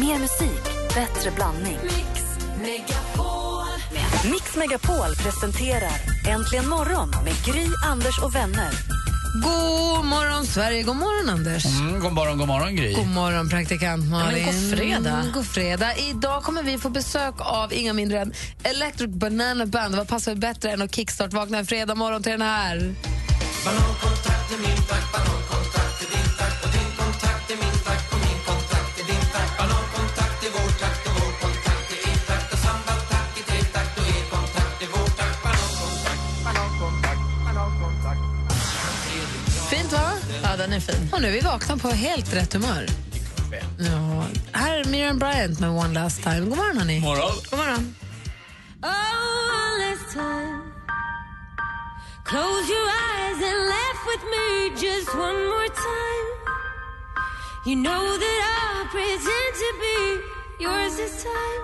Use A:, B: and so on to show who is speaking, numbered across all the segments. A: Mer musik, bättre blandning.
B: Mix Megapol.
A: Mix Megapol presenterar Äntligen morgon med Gry, Anders och vänner.
C: God morgon, Sverige. God morgon, Anders.
D: Mm, god morgon, god morgon Gry.
C: God morgon, praktikant Malin.
E: Ja, men god fredag.
C: Mm, God fredag. Idag kommer vi få besök av inga mindre än Electric Banana Band. Vad passar bättre än att kickstart-vakna en fredag morgon till den här? Fint, va?
E: Ja, den är fin.
C: Och nu är vi vakna på helt rätt humör. Ja. Här är Miriam Bryant med One Last Time. God morgon, hörni.
D: morgon.
E: God morgon.
B: Close your eyes and laugh with me just one more time. You know that I'll pretend to be yours this time.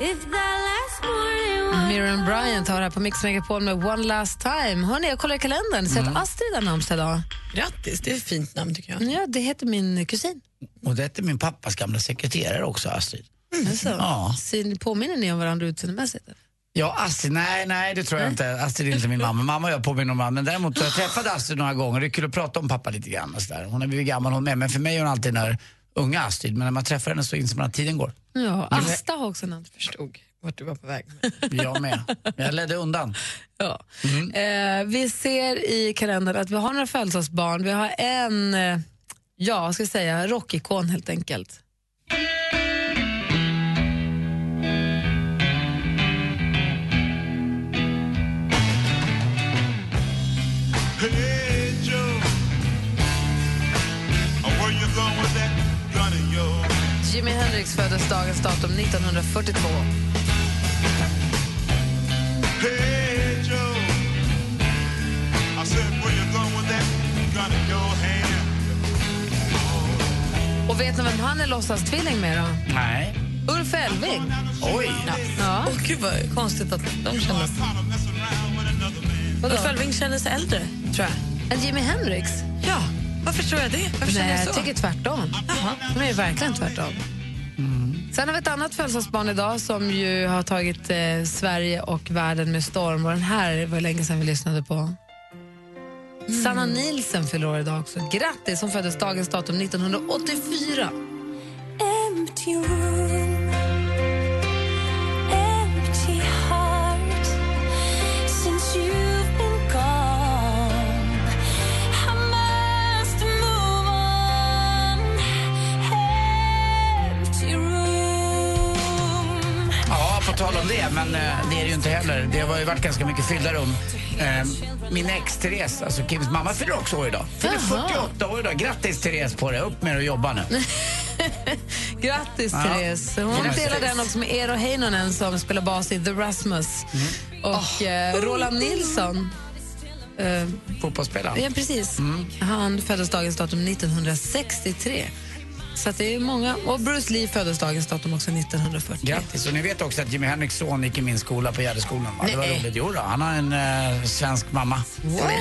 B: If that lasts more than one
C: Miriam Bryant har här på Mix Megapol med One Last Time. Hörni, jag kollar i kalendern. Ser att Astrid har namnsdag idag.
E: Mm. Grattis, det är ett fint namn tycker jag.
C: Ja, det heter min kusin.
D: Och det är min pappas gamla sekreterare också, Astrid.
C: Alltså,
D: Ja.
C: sin- Påminner ni om varandra utseendemässigt?
D: Ja, Astrid, nej, nej, det tror jag inte. Astrid är inte min mamma. Mamma och jag påminner om varandra. Men däremot har jag träffat Astrid några gånger. Det är kul att prata om pappa lite grann och sådär. Hon har blivit gammal hon med. Men för mig är hon alltid den här unga Astrid. Men när man träffar henne så inser man att tiden går.
C: Ja, Asta har också namn.
E: Förstod vart du var på väg. med.
D: Jag med. Men jag ledde undan.
C: Ja. Eh, vi ser i kalendern att vi har några födelsedagsbarn. Vi har en, eh, ja, vad ska jag säga, rockikon helt enkelt.
F: Hey Joe, where you going with that gun of yours?
C: Jimi Hendrix föddes dagens datum 1942.
F: Hey Joe, I said where you going with that gun in your hand?
C: Och vet ni vem han är låtsastvilling med då?
D: Nej.
C: Ulf Elving.
D: Oj.
C: Ja.
E: Åh, Gud vad konstigt att de kändes...
F: Tired of messing around with another man.
C: Vadå?
E: Ulf Elfving känner sig äldre, tror jag.
C: En Jimi Hendrix?
E: Ja, varför tror jag det? Varför känner
C: Nej,
E: jag
C: jag
E: så?
C: tycker tvärtom. De är ju verkligen tvärtom.
D: Mm.
C: Sen har vi ett annat födelsedagsbarn idag som ju har tagit eh, Sverige och världen med storm. Och den här var länge sedan vi lyssnade på.
E: Mm.
C: Sanna Nielsen fyller år idag också. Grattis! Hon föddes dagens datum 1984.
B: empty room, empty heart. Since you've been gone, I must move on. Empty room.
D: Ja, på tal om det, men eh, det är det ju inte heller. Det har ju varit ganska mycket fyllda rum. Eh, min ex Therese, alltså Kims mamma, fyller också år idag. Fyller
C: Jaha.
D: 48 år idag. Grattis Therese på det. Upp med dig och jobba nu.
C: Grattis,
D: Ja.
C: Therese! Hon
D: Grattis.
C: delar den också med Eero Heinonen som spelar bas i The Rasmus.
D: Mm.
C: Och eh, Roland Nilsson. Eh,
D: Fotbollsspelaren.
C: Ja, precis.
E: Mm.
C: Han föddes dagens datum 1963. Så att det är många. Och Bruce Lee föddes dagens datum också 1940.
D: Grattis. Och ni vet också att Jimi Henriks son gick i min skola på Gärdeskolan. Va? Det var
E: Nej.
D: roligt. Jo då, han har en eh, svensk mamma.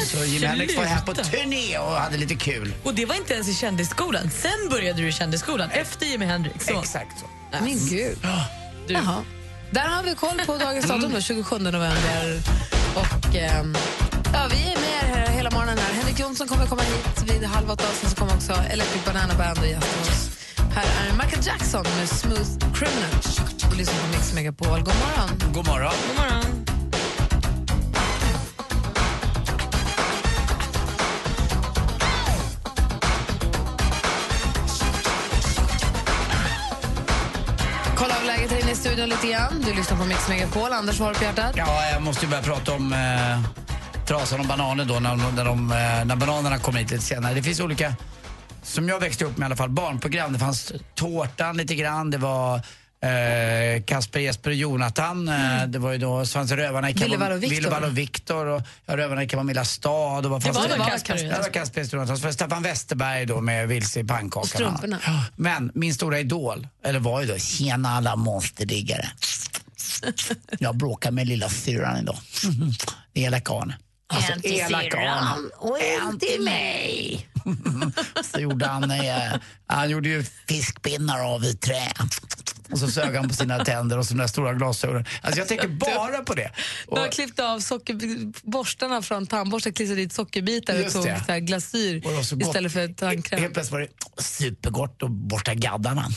D: Så Jimi Hendrix var här på
E: Sluta.
D: turné och hade lite kul.
E: Och det var inte ens i kändisskolan. Sen började du i kändisskolan, efter Jimi Hendrix. Så.
D: Exakt så.
C: Min gud.
E: Du. Mm.
C: Jaha. Där har vi koll på dagens datum, då, 27 november. Och, ehm, ja, vi är med er här hela morgonen. Här. Henrik Jonsson kommer komma hit vid halv åtta. Sen så kommer också Electric Banana Band och gästa oss. Här är Michael Jackson med Smooth Criminal. Du lyssnar på Mix Megapol. God morgon.
D: God morgon.
E: God morgon.
C: Kolla av läget här inne i studion lite grann. Du lyssnar på Mix Megapol. Anders, vad har du på hjärtat?
D: Ja, jag måste ju börja prata om eh, trasan om bananer då när, när, de, eh, när bananerna kommer hit lite senare. Det finns olika, som jag växte upp med i alla fall, barnprogram. Det fanns Tårtan lite grann, det var eh, Kasper, Jesper och Jonathan. Eh, det var ju då så fanns det Rövarna i
C: Ville Wall och Viktor.
D: Ville Wall och Viktor och ja, Rövarna i Kamomilla stad. Och vad fanns
E: var
C: väl
E: Kasper och
D: Ja, det
E: Jonathan.
D: var Kasper och Jonathan. Så var det Staffan Westerberg då med Vilse i pannkakan.
C: Och strumporna.
D: Ja, Men min stora idol, eller var ju då, tjena alla monsterdiggare. Jag bråkar med lilla syrran idag. Det är elaka Arne. Alltså elak av honom. En till mig. så gjorde han, eh, han gjorde ju fiskpinnar av i trä. Och så sög han på sina tänder och sina stora glasögon. Alltså jag tänker bara på det.
C: Du
D: Och,
C: har klippt av socker, borstarna från tandborsten, klistrat dit sockerbitar och
D: Just
C: tog
D: det.
C: så här glasyr
D: och det var så gott.
C: istället för tandkräm.
D: Helt plötsligt var det supergott att borsta gaddarna.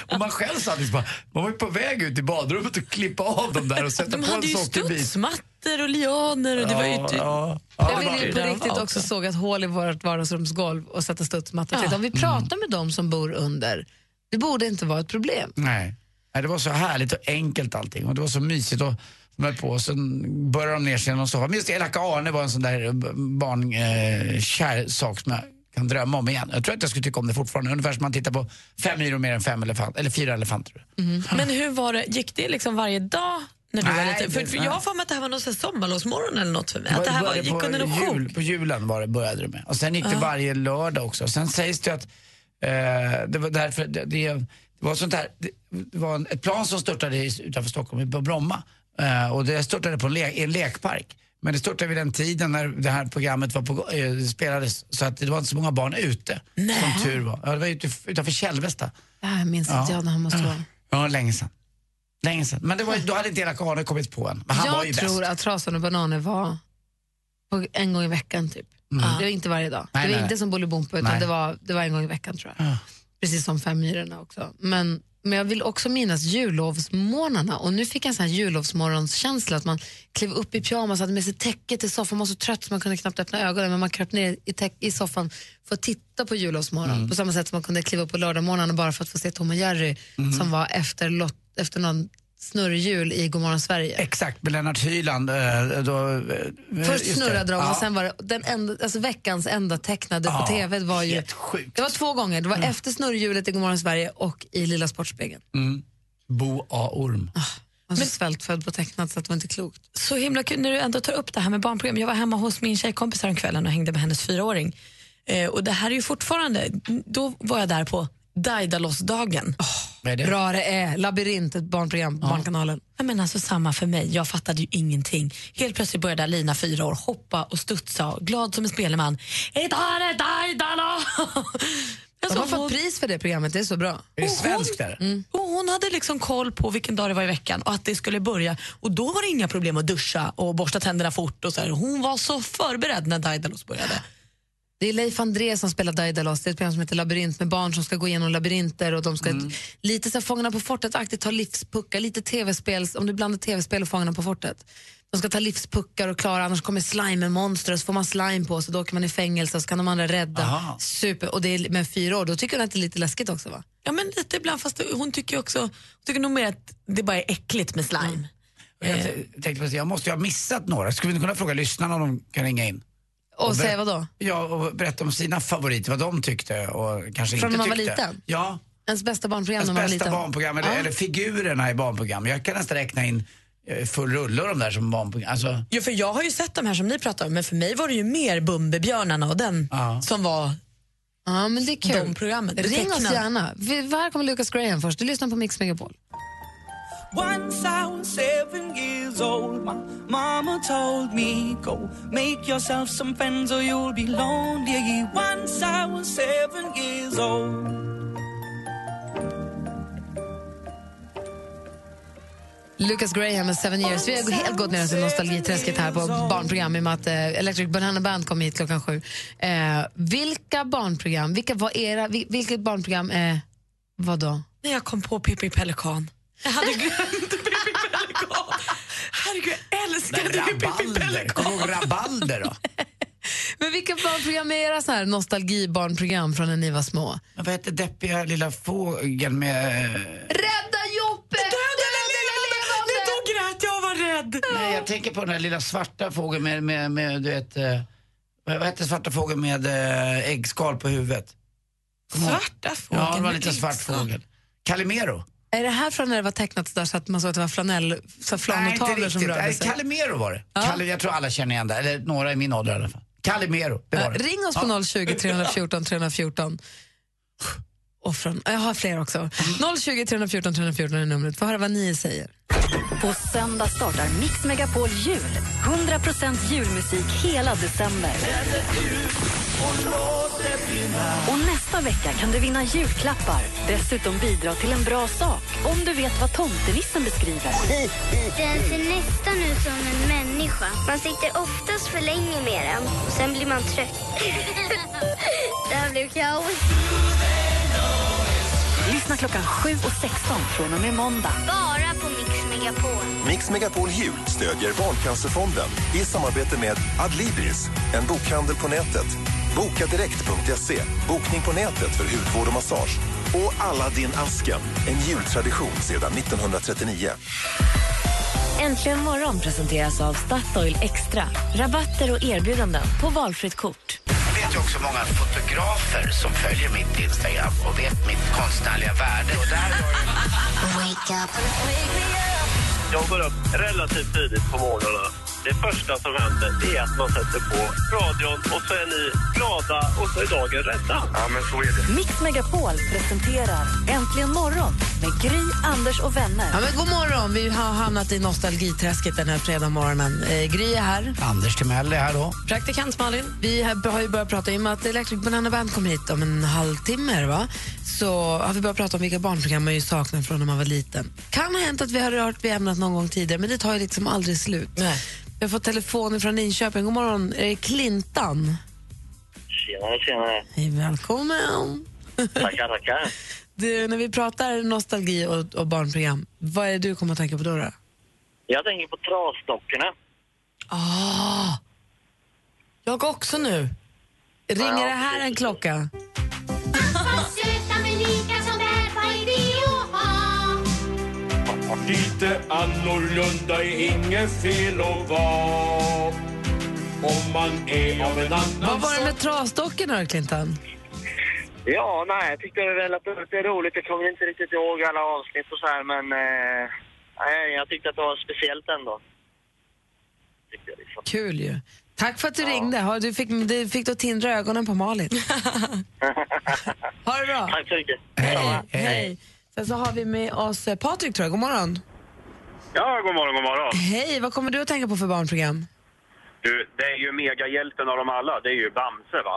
D: och man själv satt liksom bara, man var ju på väg ut i badrummet och klippa av dem där och sätta
E: De
D: på en
E: hade ju
D: sockerbit.
E: studsmattor och lianer och det var ju... typ-
D: Ja,
E: inte-
D: ja, ja,
C: Jag
D: det var-
C: vill ju på
E: det.
C: riktigt
E: Ja,
C: också såga ett hål i vårt vardagsrumsgolv och sätta studsmatta. Ja. Om vi pratar
D: Mm.
C: med dem som bor under, det borde inte vara ett problem.
D: Nej. Nej, det var så härligt och enkelt allting och det var så mysigt och de höll på och sen började de ner sig i någon soffa. Minns du, elaka Arne var en sån där barnkär eh, kär sak som jag kan drömma om igen. Jag tror att jag skulle tycka om det fortfarande. Ungefär som man tittar på fem myror mer än fem elefant, eller fyra elefanter.
E: Men hur var det, gick det liksom varje dag när du
D: Nej,
E: var liten?
D: det-
E: För, för jag har för mig att det här var någon sån här sommarlovsmorgon eller något för mig. Att det här var,
D: började
E: gick
D: på
E: under någon
D: jul,
E: sjok.
D: På julen var det, började det med. Och sen gick det varje lördag också. Sen sägs det att eh, det var därför, det, det, det var sånt där, det, det var en, ett plan som störtade i- utanför Stockholm, på Bromma. Eh, och det störtade på en, le, i en lekpark. Men det störtade vid den tiden när det här programmet var på, eh, spelades så att det var inte så många barn ute. Som tur var. Ja, det var ute, utanför Kälvesta.
C: Det här minns inte jag när han måste vara.
D: Ja, länge sedan. Länge sedan. Men det var, då hade inte Elaka Arne kommit på en. Men han var ju
C: Jag
D: bäst.
C: tror att Trasan och Bananer var på en gång i veckan typ. Det var inte varje dag.
D: Mm. Nej,
C: det var
D: nej,
C: inte
D: nej.
C: som Bolibompa utan
D: Nej.
C: det var, det var en gång i veckan tror jag. Precis som Femmyrorna också. Men, men jag vill också minnas jullovsmorgnarna och nu fick jag en sån här jullovsmorgonskänsla att man klev upp i pyjamas, hade med sig täcket till soffan, man var så trött så man kunde knappt öppna ögonen men man kröp ner i, täck, i soffan för att titta på jullovsmorgon
D: Mm.
C: på samma sätt som man kunde kliva upp på lördagmorgnarna bara för att få se Tom och Jerry
D: Mm.
C: som var efter, lot, efter någon snurrjul i Godmorgon Sverige.
D: Exakt, med Lennart Hyland. eh, Då, eh, just det.
C: Först snurrade de
D: Ja.
C: och sen var det den enda, alltså veckans enda tecknade
D: Ja,
C: på tv var ju...
D: helt sjukt. Mm.
C: Det var två gånger. Det var efter snurrhjulet i Godmorgon Sverige och i Lilla Sportspegeln.
D: Bo A. Orm.
C: Ah, Han var så svältfödd på tecknat så att det var inte klokt.
E: Så himla kul när du ändå tar upp det här med barnprogram. Jag var hemma hos min tjejkompis kvällen och hängde med hennes fyraåring. Eh, och det här är ju fortfarande, då var jag där på Daidalosdagen.
D: Vad är det?
C: Bra det är. Labyrint, ett barnprogram på Barnkanalen.
E: Ja, men alltså samma för mig. Jag fattade ju ingenting. Helt plötsligt började Alina, fyra år, hoppa och studsa. Glad som en spelman. Idag är det Daidalo! Jag
C: De
D: Alltså,
E: sa,
C: har fått
E: Alltså, hon,
C: pris för det programmet, det är så bra.
D: Är det svenskt där?
C: Mm.
E: och hon hade liksom koll på vilken dag det var i veckan och att det skulle börja. Och då var det inga problem att duscha och borsta tänderna fort. Och så här. Hon var så förberedd när Daidalos började.
C: Det är Leif André som spelar Daidalos. Det är ett program som heter Labyrint med barn som ska gå igenom labyrinter och de ska
D: Mm.
C: lite så här Fångarna på fortet-aktigt ta livspuckar, lite tv-spel, om du blandar tv-spel och Fångarna på fortet. De ska ta livspuckar och klara, annars kommer slime-monster och så får man slime på sig, då åker man i fängelse och så kan de andra rädda.
D: Aha.
C: Super. Och det är med fyra år, då tycker hon att det är lite läskigt också va?
E: Ja, men lite ibland. Fast hon tycker ju också, hon tycker nog mer att det bara är äckligt med slime.
D: Jag
C: Eh.
D: t- tänkte precis, jag måste ju ha missat några. Skulle vi inte kunna fråga lyssnarna om de kan ringa in?
C: Och
D: ber-
C: säga vadå?
D: Ja, och berätta om sina favoriter, vad de tyckte och kanske
C: Från
D: inte
C: när man var
D: tyckte.
C: liten?
D: Ja,
C: Ens bästa barnprogram
D: ens
C: när man var
D: bästa
C: liten.
D: barnprogram eller, eller figurerna i barnprogram. Jag kan nästan räkna in eh, full rulle och de där som barnprogram. Alltså,
E: Ja, för jag har ju sett de här som ni pratar om, men för mig var det ju mer Bumbibjörnarna och den
D: Ja.
E: som var...
C: Ja, men det är kul.
E: De programmen, det
C: Ring oss
E: tecknade.
C: gärna. Vi, här kommer Lucas Graham först. Du lyssnar på Mix Megapol.
G: Once I was seven years old, my mama told me, Go make yourself some friends or you'll be lonely. Once I was seven years old.
C: Lucas Graham med Seven Years. Vi har helt gått ner oss i nostalgiträsket här på barnprogram i och med att eh, Electric Banana Band kom hit klockan sju. Eh, vilka barnprogram, vilka var era, vil, vilket barnprogram är, eh, vadå?
E: När jag kom på Pippi Pelikan. Jag hade glömt Pippi Pelikan. Herregud, jag älskade ju Pippi
D: rabalder,
E: Pelikan.
D: kommer du ihåg rabalder då?
C: Men vilka barnprogram är era så här nostalgibarnprogram från när ni var små?
D: Men Vad hette deppiga lilla fågeln med... eh,
C: Rädda Joppe!
E: Döden är levande! Nej, då grät jag och var rädd.
D: Nej, jag tänker på den där lilla svarta fågeln med, med, med du vet, eh, vad vad hette svarta fågeln med eh, äggskal på huvudet?
E: Svarta fågeln.
D: Ja, det var en liten
E: med
D: svart
E: äggskal.
D: fågel. Calimero?
C: Är det här från när det var tecknat så, där, så att man såg att det var flanell, så här flanelltavlor som rörde
D: Nej,
C: sig?
D: Calimero var det. Calle, jag tror alla känner igen det, eller några i min ålder i alla fall. Calimero, det var
C: Ja,
D: det.
C: Ring oss på 020 314 314. och från... Jag har fler
D: Mm.
C: också. 020 314 314 är numret. Få höra vad ni säger.
A: På söndag startar Mix Megapol Jul. 100% julmusik hela december. Och nästa vecka kan du vinna julklappar. Dessutom bidra till en bra sak om du vet vad tomtenissen beskriver.
H: Den ser nästan ut som en människa. Man sitter oftast för länge med den och sen blir man trött. det här blev kaos.
A: Lyssna klockan 7 och 16 från och med måndag.
H: Bara på Mix Megapol.
I: Mix Megapol Jul stödjer Barncancerfonden i samarbete med Adlibris, en bokhandel på nätet, bokadirekt.se, E. bokning på nätet för hudvård och massage och Aladdin asken en jultradition sedan 1939.
A: Äntligen morgon presenteras av Statoil Extra. Rabatter och erbjudanden på valfritt kort.
J: Jag vet ju också många fotografer som följer mitt Instagram och vet mitt konstnärliga värde. Och där har jag...
K: Jag går upp relativt tidigt på morgonen. Det första som händer det är att man sätter på radion och så är ni glada och så är dagen rädda.
J: Ja, men så är det.
A: Mix Megapol presenterar Äntligen morgon med Gry, Anders och vänner.
C: Ja, men god morgon. Vi har hamnat i nostalgiträsket den här fredag morgonen. Eh, Gry är här.
D: Anders Timell är här då.
C: Praktikant Malin. Vi har har ju börjat prata, i och med att Electric Banana Band kommer hit om en halvtimme, är det va? så har vi börjat prata om vilka barnprogram man ju saknar från när man var liten. Kan ha hänt att vi har rört vid ämnet någon gång tidigare, men det tar ju liksom aldrig slut.
G: Nej.
C: Vi har fått telefon från Linköping. God morgon, är det Klintan?
K: Tjenare, tjenare.
C: Hej, välkommen.
K: Tackar, tackar.
C: Du, när vi pratar nostalgi och, och barnprogram, vad är det du kommer att tänka på då? då?
K: Jag tänker på trasdockorna.
C: Ah!
G: Jag också nu.
C: Ringer det här en klocka?
H: Söta men lika som bär på
L: Lite annorlunda är inget fel att vara om man är av en
C: Vad
L: annan
C: var det med trasdockorna då, Klintan?
K: Ja, nej, jag tyckte det var relativt det är roligt. Jag kommer inte riktigt ihåg alla avsnitt och så här, men eh, nej, jag tyckte att det var speciellt ändå. Tyckte jag liksom.
C: Kul ju. Tack för att du ringde. Har, du fick, du fick då tindra ögonen på Malin. ha det bra.
K: Tack så mycket.
D: Hej, hej.
C: Hej. Sen så har vi med oss eh, Patrik, tror jag. God morgon.
K: Ja, god morgon, god morgon.
C: Hej, vad kommer du att tänka på för barnprogram?
K: Du, det är ju megahjälten av dem alla. Det är ju Bamse, va?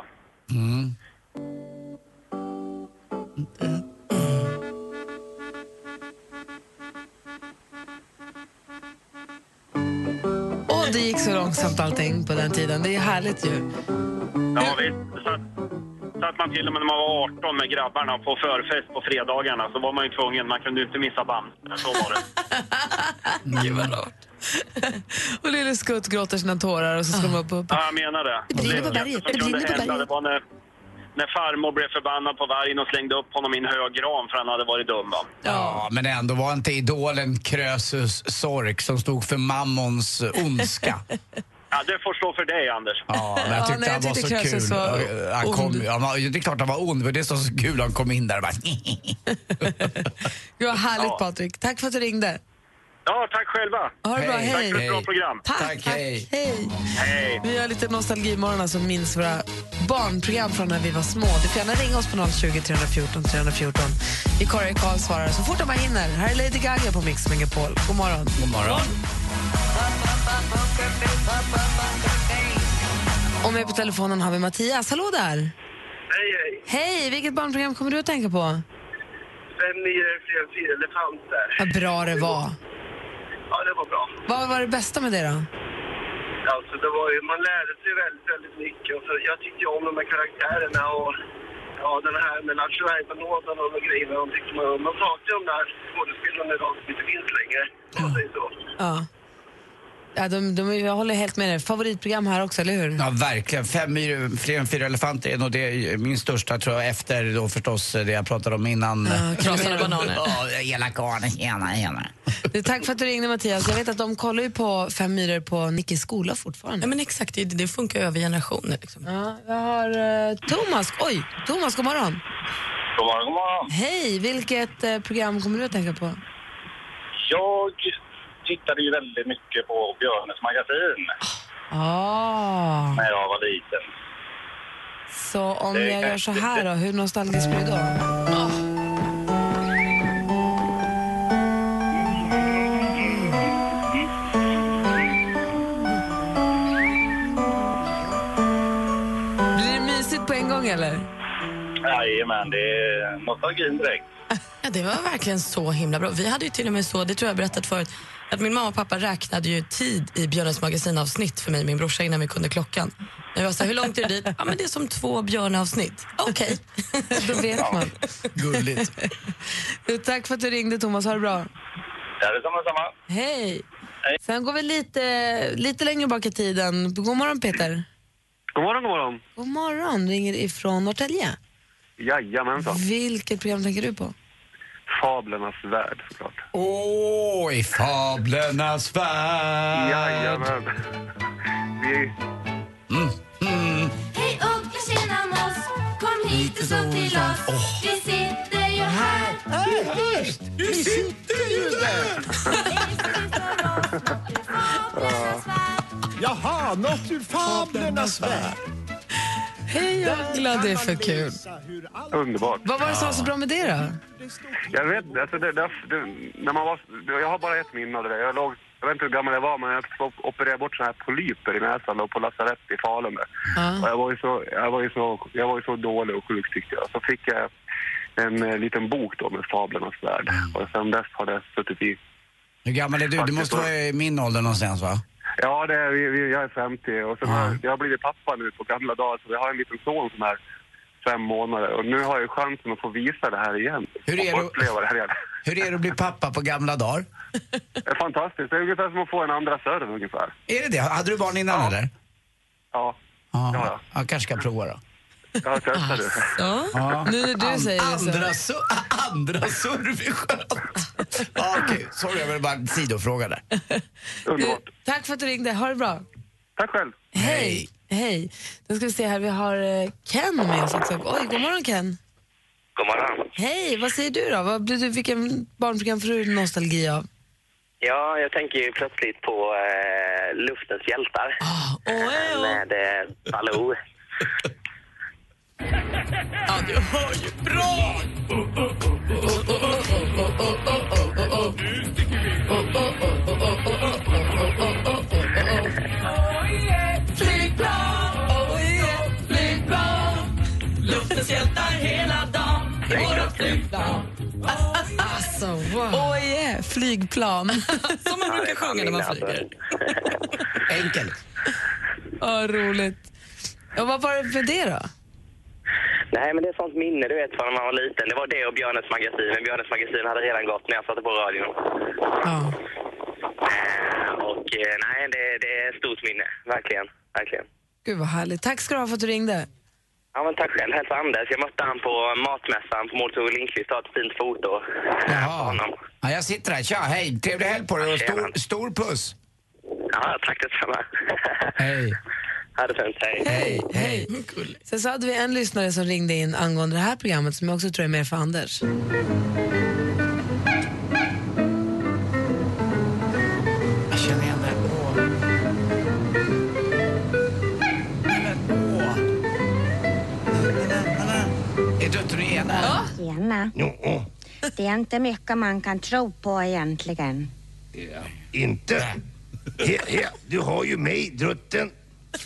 C: Åh, det gick så långsamt allting på den tiden. Det är härligt ju.
K: Ja, visst. Så, så att man till och med när man var 18 med grabbarna på förfest på fredagarna så var man ju tvungen. Man kunde ju inte missa Bamse. Så var det.
C: Och lille Skutt gråter sina tårar och så ska de upp och...
K: Ja, jag menar det.
C: Det brinner på berget, det
K: som kunde
C: brinner på
K: hända,
C: berget.
K: Det var när, när farmor blev förbannad på vargen och slängde upp honom i en hög gran för han hade varit dum, va?
D: Ja, men ändå var inte idolen Krösus Sork som stod för mammons ondska.
K: Ja, det får stå för dig, Anders.
D: Ja, men
C: Ja,
D: jag tyckte
C: nej, jag
D: han var
C: tyckte
D: så
C: Krösus
D: kul.
C: var
D: Ja, han
C: ond.
D: kom, ja, men det är klart han var ond, men det är så kul han kom in där och bara...
C: Gud, vad härligt
K: Ja.
C: Patrik. Tack för att du ringde.
K: Ja, tack själva.
C: Ha det bra,
D: Hej.
K: Tack
C: hej.
K: för ett bra program.
C: Tack,
D: Tack, hej.
C: hej.
K: Hej.
C: Vi har lite nostalgimorgon som minns våra barnprogram från när vi var små. Du får gärna ringa oss på 020 314 314. Vi korrar Karl svarar så fort han bara hinner. Här är Lady Gaga på Mix Megapol. God morgon.
D: God morgon.
C: Och med på telefonen har vi Mattias. Hallå där!
K: Hej, hej.
C: Hej! Vilket barnprogram kommer du att tänka på?
K: Sen är det fler än fyra elefanter.
C: Vad bra det var.
K: Ja, det var bra.
C: Vad var det bästa med det då?
K: Alltså, det var ju, man lärde sig väldigt, väldigt mycket. Och så, jag tyckte ju om de här karaktärerna och ja, den här med Lattjo Lajban-lådan och de grejerna. De tyckte man, man saknar de där skådespelarna idag som inte finns längre. om man säger så.
C: Ja. Ja, de, de, jag håller helt med dig. Favoritprogram här också, eller hur?
D: Ja, verkligen. Fem myror, fler än fyra elefanter är nog det, min största, tror jag, efter då förstås det jag pratade om innan.
G: Trasade bananer.
D: Ja, elaka Arne, tjena, tjena.
C: Du, tack för att du ringde Mattias. Jag vet att de kollar ju på Fem myror på Nickes skola fortfarande.
G: Ja, men exakt, det, det funkar ju över generationer. Liksom.
C: Ja, jag har eh, Thomas. Oj, Thomas, god morgon.
K: God morgon, god morgon.
C: Hej, vilket eh, program kommer du att tänka på?
K: Jag tittade ju väldigt mycket på Björnes magasin
C: Ah,
K: när jag var liten.
C: så om jag gör så här då, hur nostalgisk blir du då? Ah. gång eller?
K: Jajamän, det är nostalgin direkt.
E: Ja, det var verkligen så himla bra. Vi hade ju till och med så, det tror jag berättat förut, att min mamma och pappa räknade ju tid i Björnes magasinavsnitt för mig och min brorsa innan vi kunde klockan. Jag var så här, hur långt är det dit? Ja, men det är som två Björneavsnitt. Okej.
C: Då vet man.
D: Gulligt.
C: Du, tack för att du ringde Thomas, ha det bra.
K: Ja, det är samma, samma.
C: Hej. Sen går vi lite, lite längre bak i tiden. God morgon Peter.
K: God morgon, god morgon.
C: God morgon, ringer ifrån Norrtälje.
K: Jajamensan.
C: Vilket program tänker du på?
K: Fablernas värld, såklart.
D: Åh, i fablernas värld.
K: Jajamän. Vi...
H: Hej unga tjena moss, kom hit och så till oss. Vi sitter ju här.
D: Du sitter ju där!
M: Jaha, något ur fablernas värld.
C: Hej Uggla, det är för kul.
K: Underbart.
C: Vad var det som var så bra med det då?
K: Jag vet inte, alltså det, det, det, när man var, jag har bara ett minne av det där. Jag, låg, jag vet inte hur gammal jag var, men jag fick operera bort såna här polyper i näsan då, på lasarett i Falun. Där. Och jag, var ju så, jag, var ju så, jag var ju så dålig och sjuk tyckte jag. Så fick jag en eh, liten bok då med Fablernas värld. Och sen dess har det suttit i.
D: Hur gammal är du? Du måste vara i min ålder någonstans va?
K: Ja, det, är- vi, vi, jag är 50 och sen har, jag- jag har blivit pappa nu på gamla dagar. Så jag har en liten son som är fem månader. Och nu har jag ju chansen att få visa det här igen.
D: Hur är
K: och få
D: det-
K: uppleva det här igen.
D: Hur är det att bli pappa på gamla dagar?
K: Det är fantastiskt. Det är ungefär som att få en andra serv ungefär.
D: Är det det? Hade du barn innan eller?
K: Ja,
D: Ja. Alltså.
K: Ja.
D: Jag kanske ska prova då.
K: jag testar det.
C: Ja. Nu när du säger det så.
D: Andra, så, andra surv är skönt. Ja, Okej, sorry, jag ville bara en sidofråga där.
K: Underbart.
C: Eh, Tack för att du ringde, ha det bra.
K: Tack själv.
C: Hej. Hej. Då ska vi se här, vi har eh, Ken med oss också. Oj, god morgon Ken.
N: God morgon.
C: Hej, vad säger du då? Vad blir du, vilken barnprogram får du nostalgi av?
N: Ja, jag tänker ju plötsligt på eh, Luftens hjältar
C: Ah, Åh, eh, åh.
N: med eh, Baloo.
C: Alltså, wow. Åh, yeah, flygplan.
E: Som man brukar sjunga när man flyger.
D: Enkelt.
C: Åh, roligt. Och vad var det för det då?
N: Nej, men det är sånt minne du vet från när man var liten. Det var det och Björnes magasin. Men Björnes magasin hade redan gått när jag satte på radion.
C: Ja.
N: Eh, och eh, nej, det, det är ett stort minne. Verkligen. Verkligen.
C: Gud vad härligt. Tack ska du ha för att du ringde.
N: Ja, men tack själv. Hälsa Anders. Jag mötte han på matmässan på Måltog Lindqvist och har ett fint foto på
D: Jaha.
N: honom.
D: Ja, jag sitter här. Tja, hej. Trevlig helg på dig och stor,
N: Tjena.
D: stor puss.
N: Ja, tack detsamma.
D: Hej.
N: ha det fint. Hej.
D: Hej, hej.
C: Sen så hade vi en lyssnare som ringde in angående det här programmet som jag också tror är mer för Anders.
D: Jag känner igen det. Åh. Nej, men åh. Nej, nej, nej, nej. Är döttrarna ena? Ja.
H: Tjena. Det är inte mycket man kan tro på egentligen.
M: Inte? He, he, du har ju mig, drutten.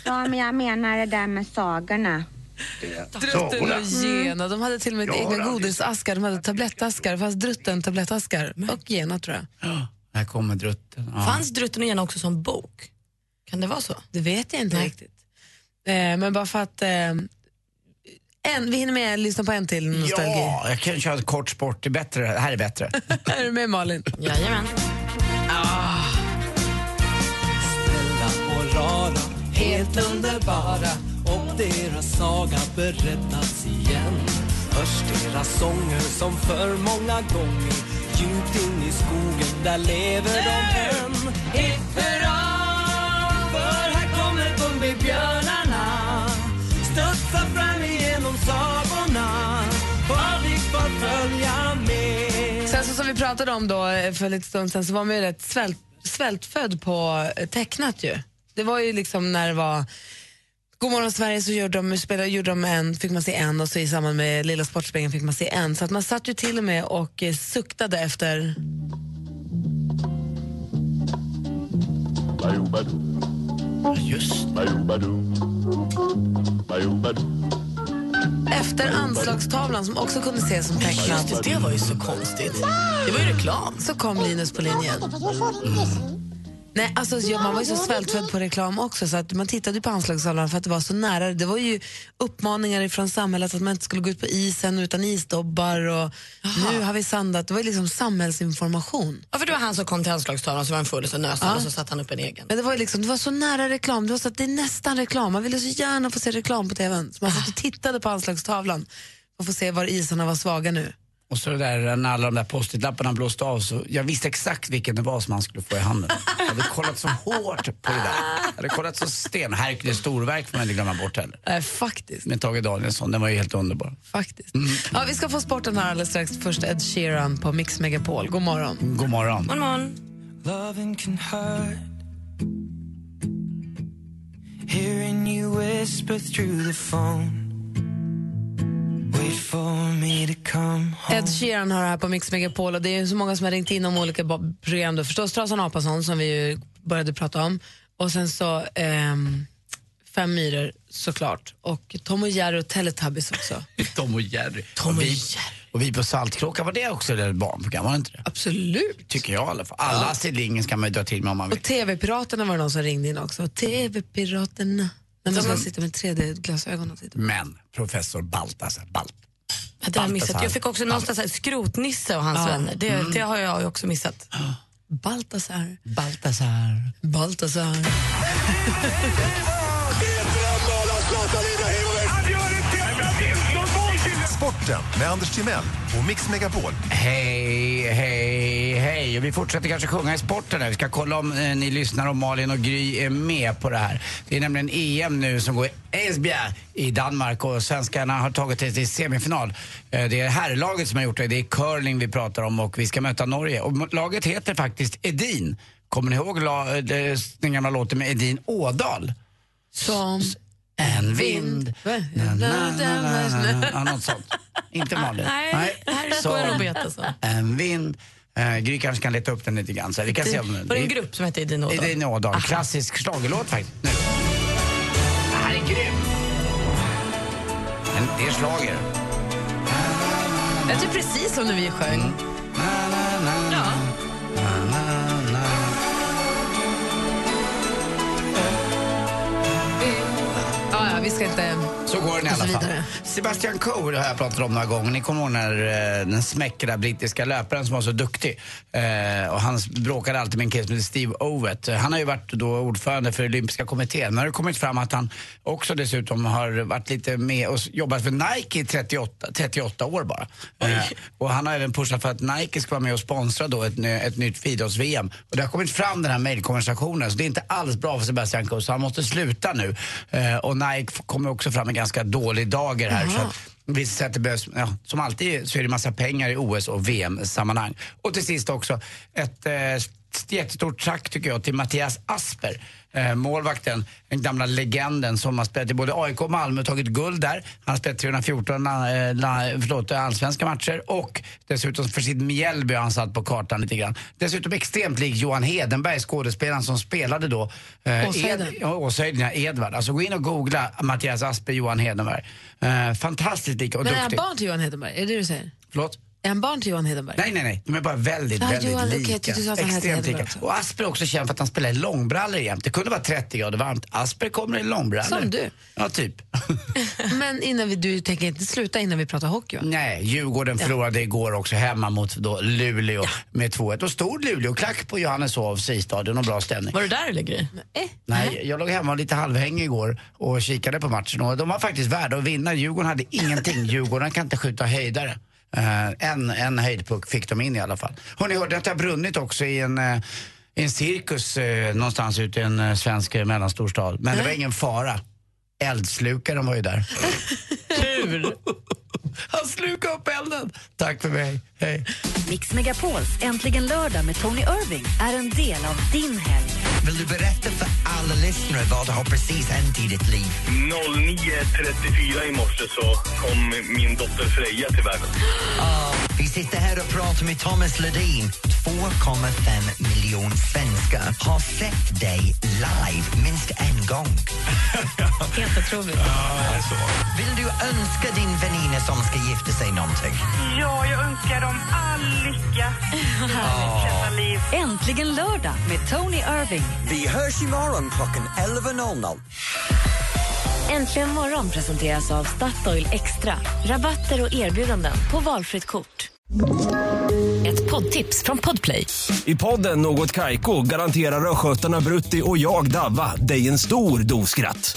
H: Ja, men jag menar det där med sagorna.
C: Drutten och Gena. De hade till och med
M: Ja,
C: egna
M: det hade-
C: godisaskar. De hade tablettaskar. Det fanns Drutten tablettaskar. Och Gena tror jag.
D: Här kommer drutten. Ja.
E: Fanns Drutten och Gena också som bok? Kan det vara så?
C: Det vet jag inte riktigt. Eh, men bara för att... Eh, en, vi hinner med att lyssna på en till nostalgi.
D: Ja, jag kan köra ett kort sport. Det är bättre. Det här är bättre.
C: Är du med Malin?
E: Jajamän.
G: och rara, helt underbara och deras saga berättas igen. Hörs deras sånger som för många gånger djupt in i skogen, där lever de än. Hipp hurra, för här kommer Bumbibjörnarna studsa fram igenom sagorna, vad vi får följa med.
C: Sen så som vi pratade om då eh, för lite stund sen så var man ju rätt svält, svältfödd på eh, tecknat ju. Det var ju liksom när det var God morgon Sverige så gjorde de, spelade, gjorde de en, fick man se en och så i samband med Lilla Sportspegeln fick man se en. Så att man satt ju till och med och eh, suktade efter
D: Just
C: Efter anslagstavlan som också kunde ses som tecknad.
O: Just det, det var ju så konstigt. Det var ju reklam.
C: Så kom Linus på linjen. Nej, alltså, ja, man var ju så svältfödd på reklam också så att man tittade ju på anslagstavlan för att det var så nära. Det var ju uppmaningar från samhället att man inte skulle gå ut på isen utan isdobbar och nu har vi sandat. Det var ju liksom samhällsinformation.
E: Ja, för det var han som kom till anslagstavlan så var han full och så nös han och så satte han upp en egen.
C: Men det var, ju liksom, det var så nära reklam, det var så att det är nästan reklam. Man ville så gärna få se reklam på tvn. Så man satt och tittade på anslagstavlan för att få se var isarna var svaga nu.
D: Och så det där när alla de där post-it-lapparna blåste av så jag visste exakt vilken det var som han skulle få i handen. Jag hade kollat så hårt på det där. Jag hade kollat så sten. Herkules storverk får man inte glömma bort heller.
C: Nej, faktiskt.
D: Med Tage Danielsson, den var ju helt underbar.
C: Faktiskt. Ja, vi ska få sporten här alldeles strax. Först Ed Sheeran på Mix Megapol. God morgon.
D: God morgon.
E: God morgon.
G: Loving can hurt. Hearing you whisper through the phone. Wait for me to come home.
C: Ed Sheeran har det här på Mix Megapol och det är ju så många som har ringt in om olika bo- program. Då. Förstås Trasan Apasson som vi ju började prata om och sen så ehm, Fem myror såklart och Tom och Jerry och Teletubbies också.
D: Tom och Jerry. Tom och, vi, och vi på Saltkråkan, var det också ett barnprogram? Var det inte det?
C: Absolut.
D: Tycker jag i alla fall. Alla Astrid Lindgrens kan man ju dra till med om man vill.
C: Och TV-piraterna var det någon som ringde in också. TV-piraterna. När man ska sitta med 3D-glasögon och titta.
D: Men professor Baltasar, Balt.
E: Ja, det har jag missat. Jag fick också någonstans här, Skrotnisse och hans
C: Ja.
E: vänner. Det, det har jag ju också missat.
C: Baltasar.
D: Baltasar.
C: Baltasar.
P: Sporten med Anders Timell och Mix Megapol.
D: Hej, hej, hej. Och vi fortsätter kanske sjunga i sporten här. Vi ska kolla om eh, ni lyssnar om Malin och Gry är med på det här. Det är nämligen EM nu som går i Esbjerg i Danmark och svenskarna har tagit sig till semifinal. Eh, det är herrlaget som har gjort det. Det är curling vi pratar om och vi ska möta Norge. Och m- laget heter faktiskt Edin. Kommer ni ihåg la, eh, det- den gamla låten med Edin Ådal?
C: Som...
D: En vind. Na, na, na, na, na. Ja, något sånt. Inte Malin.
E: Nej, här
D: Så-
E: står jag nog bet alltså.
D: en vind. Eh, Gry kanske kan leta upp den lite grann. Så vi kan se om
E: Var det en grupp som hette Edin
D: Det,
E: Ådahl?
D: det är en Ådal. Klassisk schlagerlåt faktiskt. Nu. Det här är grym! Men det är schlager.
C: Jag tycker precis som när vi sjöng.
E: Ja.
C: Ja, ja, vi ska inte...
D: Så går den i
C: Och så
D: alla fall.
C: vidare.
D: Sebastian Coe det har jag pratat om några gånger. Ni kommer ihåg när eh, den smäckra brittiska löparen som var så duktig. Eh, och han bråkade alltid med en kille som heter Steve Ovett. Eh, Han har ju varit då ordförande för olympiska kommittén. Nu har det kommit fram att han också dessutom har varit lite med och s- jobbat för Nike i 38, 38 år bara. Eh, och han har även pushat för att Nike ska vara med och sponsra då ett, ny- ett nytt friidrotts-VM. Och det har kommit fram den här mejlkonversationen så det är inte alls bra för Sebastian Coe så han måste sluta nu. Eh, och Nike f- kommer också fram i ganska dålig dager här. Så att, vi säger att det behövs, ja, som alltid så är det massa pengar i OS och VM-sammanhang. Och till sist också ett eh, st- jättestort tack tycker jag till Mattias Asper, eh, målvakten, den gamla legenden som har spelat i både AIK och Malmö och tagit guld där. Han har spelat 314 la- eh, la- förlåt, allsvenska matcher och dessutom för sitt Mjällby har han satt på kartan lite grann. Dessutom extremt lik Johan Hedenberg, skådespelaren som spelade då eh,
C: Åshöjden.
D: Ja, Åshöjden, ja, Edvard. Alltså gå in och googla Mattias Asper, Johan Hedenberg. Eh, fantastiskt lika och
C: Men är han
D: duktig.
C: barn till Johan Hedenberg? Är det det du säger?
D: Förlåt?
C: Är han barn till Johan Hedenberg?
D: Nej, nej, nej. De är bara väldigt,
C: Ja,
D: väldigt
C: Johan, okej,
D: lika.
C: jag tyckte du sa att han hette
D: Extremt
C: Hedenberg
D: lika.
C: också.
D: Och Asper är också känd för att han spelar i långbrallor jämt. Det kunde vara 30 grader varmt. Asper kommer i långbrallor.
C: Som du.
D: Ja, typ.
C: Men innan vi, du tänker inte sluta innan vi pratar hockey va?
D: Nej, Djurgården förlorade igår också hemma mot då Luleå med 2-1. Och stod Luleå, klack på Johanneshovs isstadion och bra stämning.
E: Var du där eller Gry?
C: Eh?
D: Nej, jag låg hemma lite halvhängig igår och kikade på matchen och de var faktiskt värda att vinna. Djurgården hade ingenting. Djurgården kan inte skjuta höjdare. Eh, en, en höjdpuck fick de in i alla fall. Har ni hört att det har brunnit också i en, eh, i en cirkus eh, någonstans ute i en eh, svensk eh, mellanstor stad. Men det var ingen fara. Eldslukaren var ju där. Tur! Han slukade upp elden. Tack för mig. Hej.
A: Mix Megapols Äntligen lördag med Tony Irving är en del av din helg.
Q: Vill du berätta för alla lyssnare vad det har precis hänt i ditt liv?
F: 09.34 i morse så kom min dotter Freja till världen.
G: Vi sitter här och pratar med Thomas Ledin. 2,5 miljoner svenskar har sett dig live minst en gång.
R: Helt otroligt.
G: Vill du önska din väninna som ska gifta sig någonting?
S: Ja, jag önskar dem all lycka.
A: Äntligen lördag med Tony Irving.
T: Vi hörs imorgon klockan 11.00.
A: Äntligen morgon presenteras av Statoil Extra. Rabatter och erbjudanden på valfritt kort. Ett poddtips från Podplay.
F: I podden Något Kaiko garanterar östgötarna Brutti och jag, Davva, dig en stor dos skratt.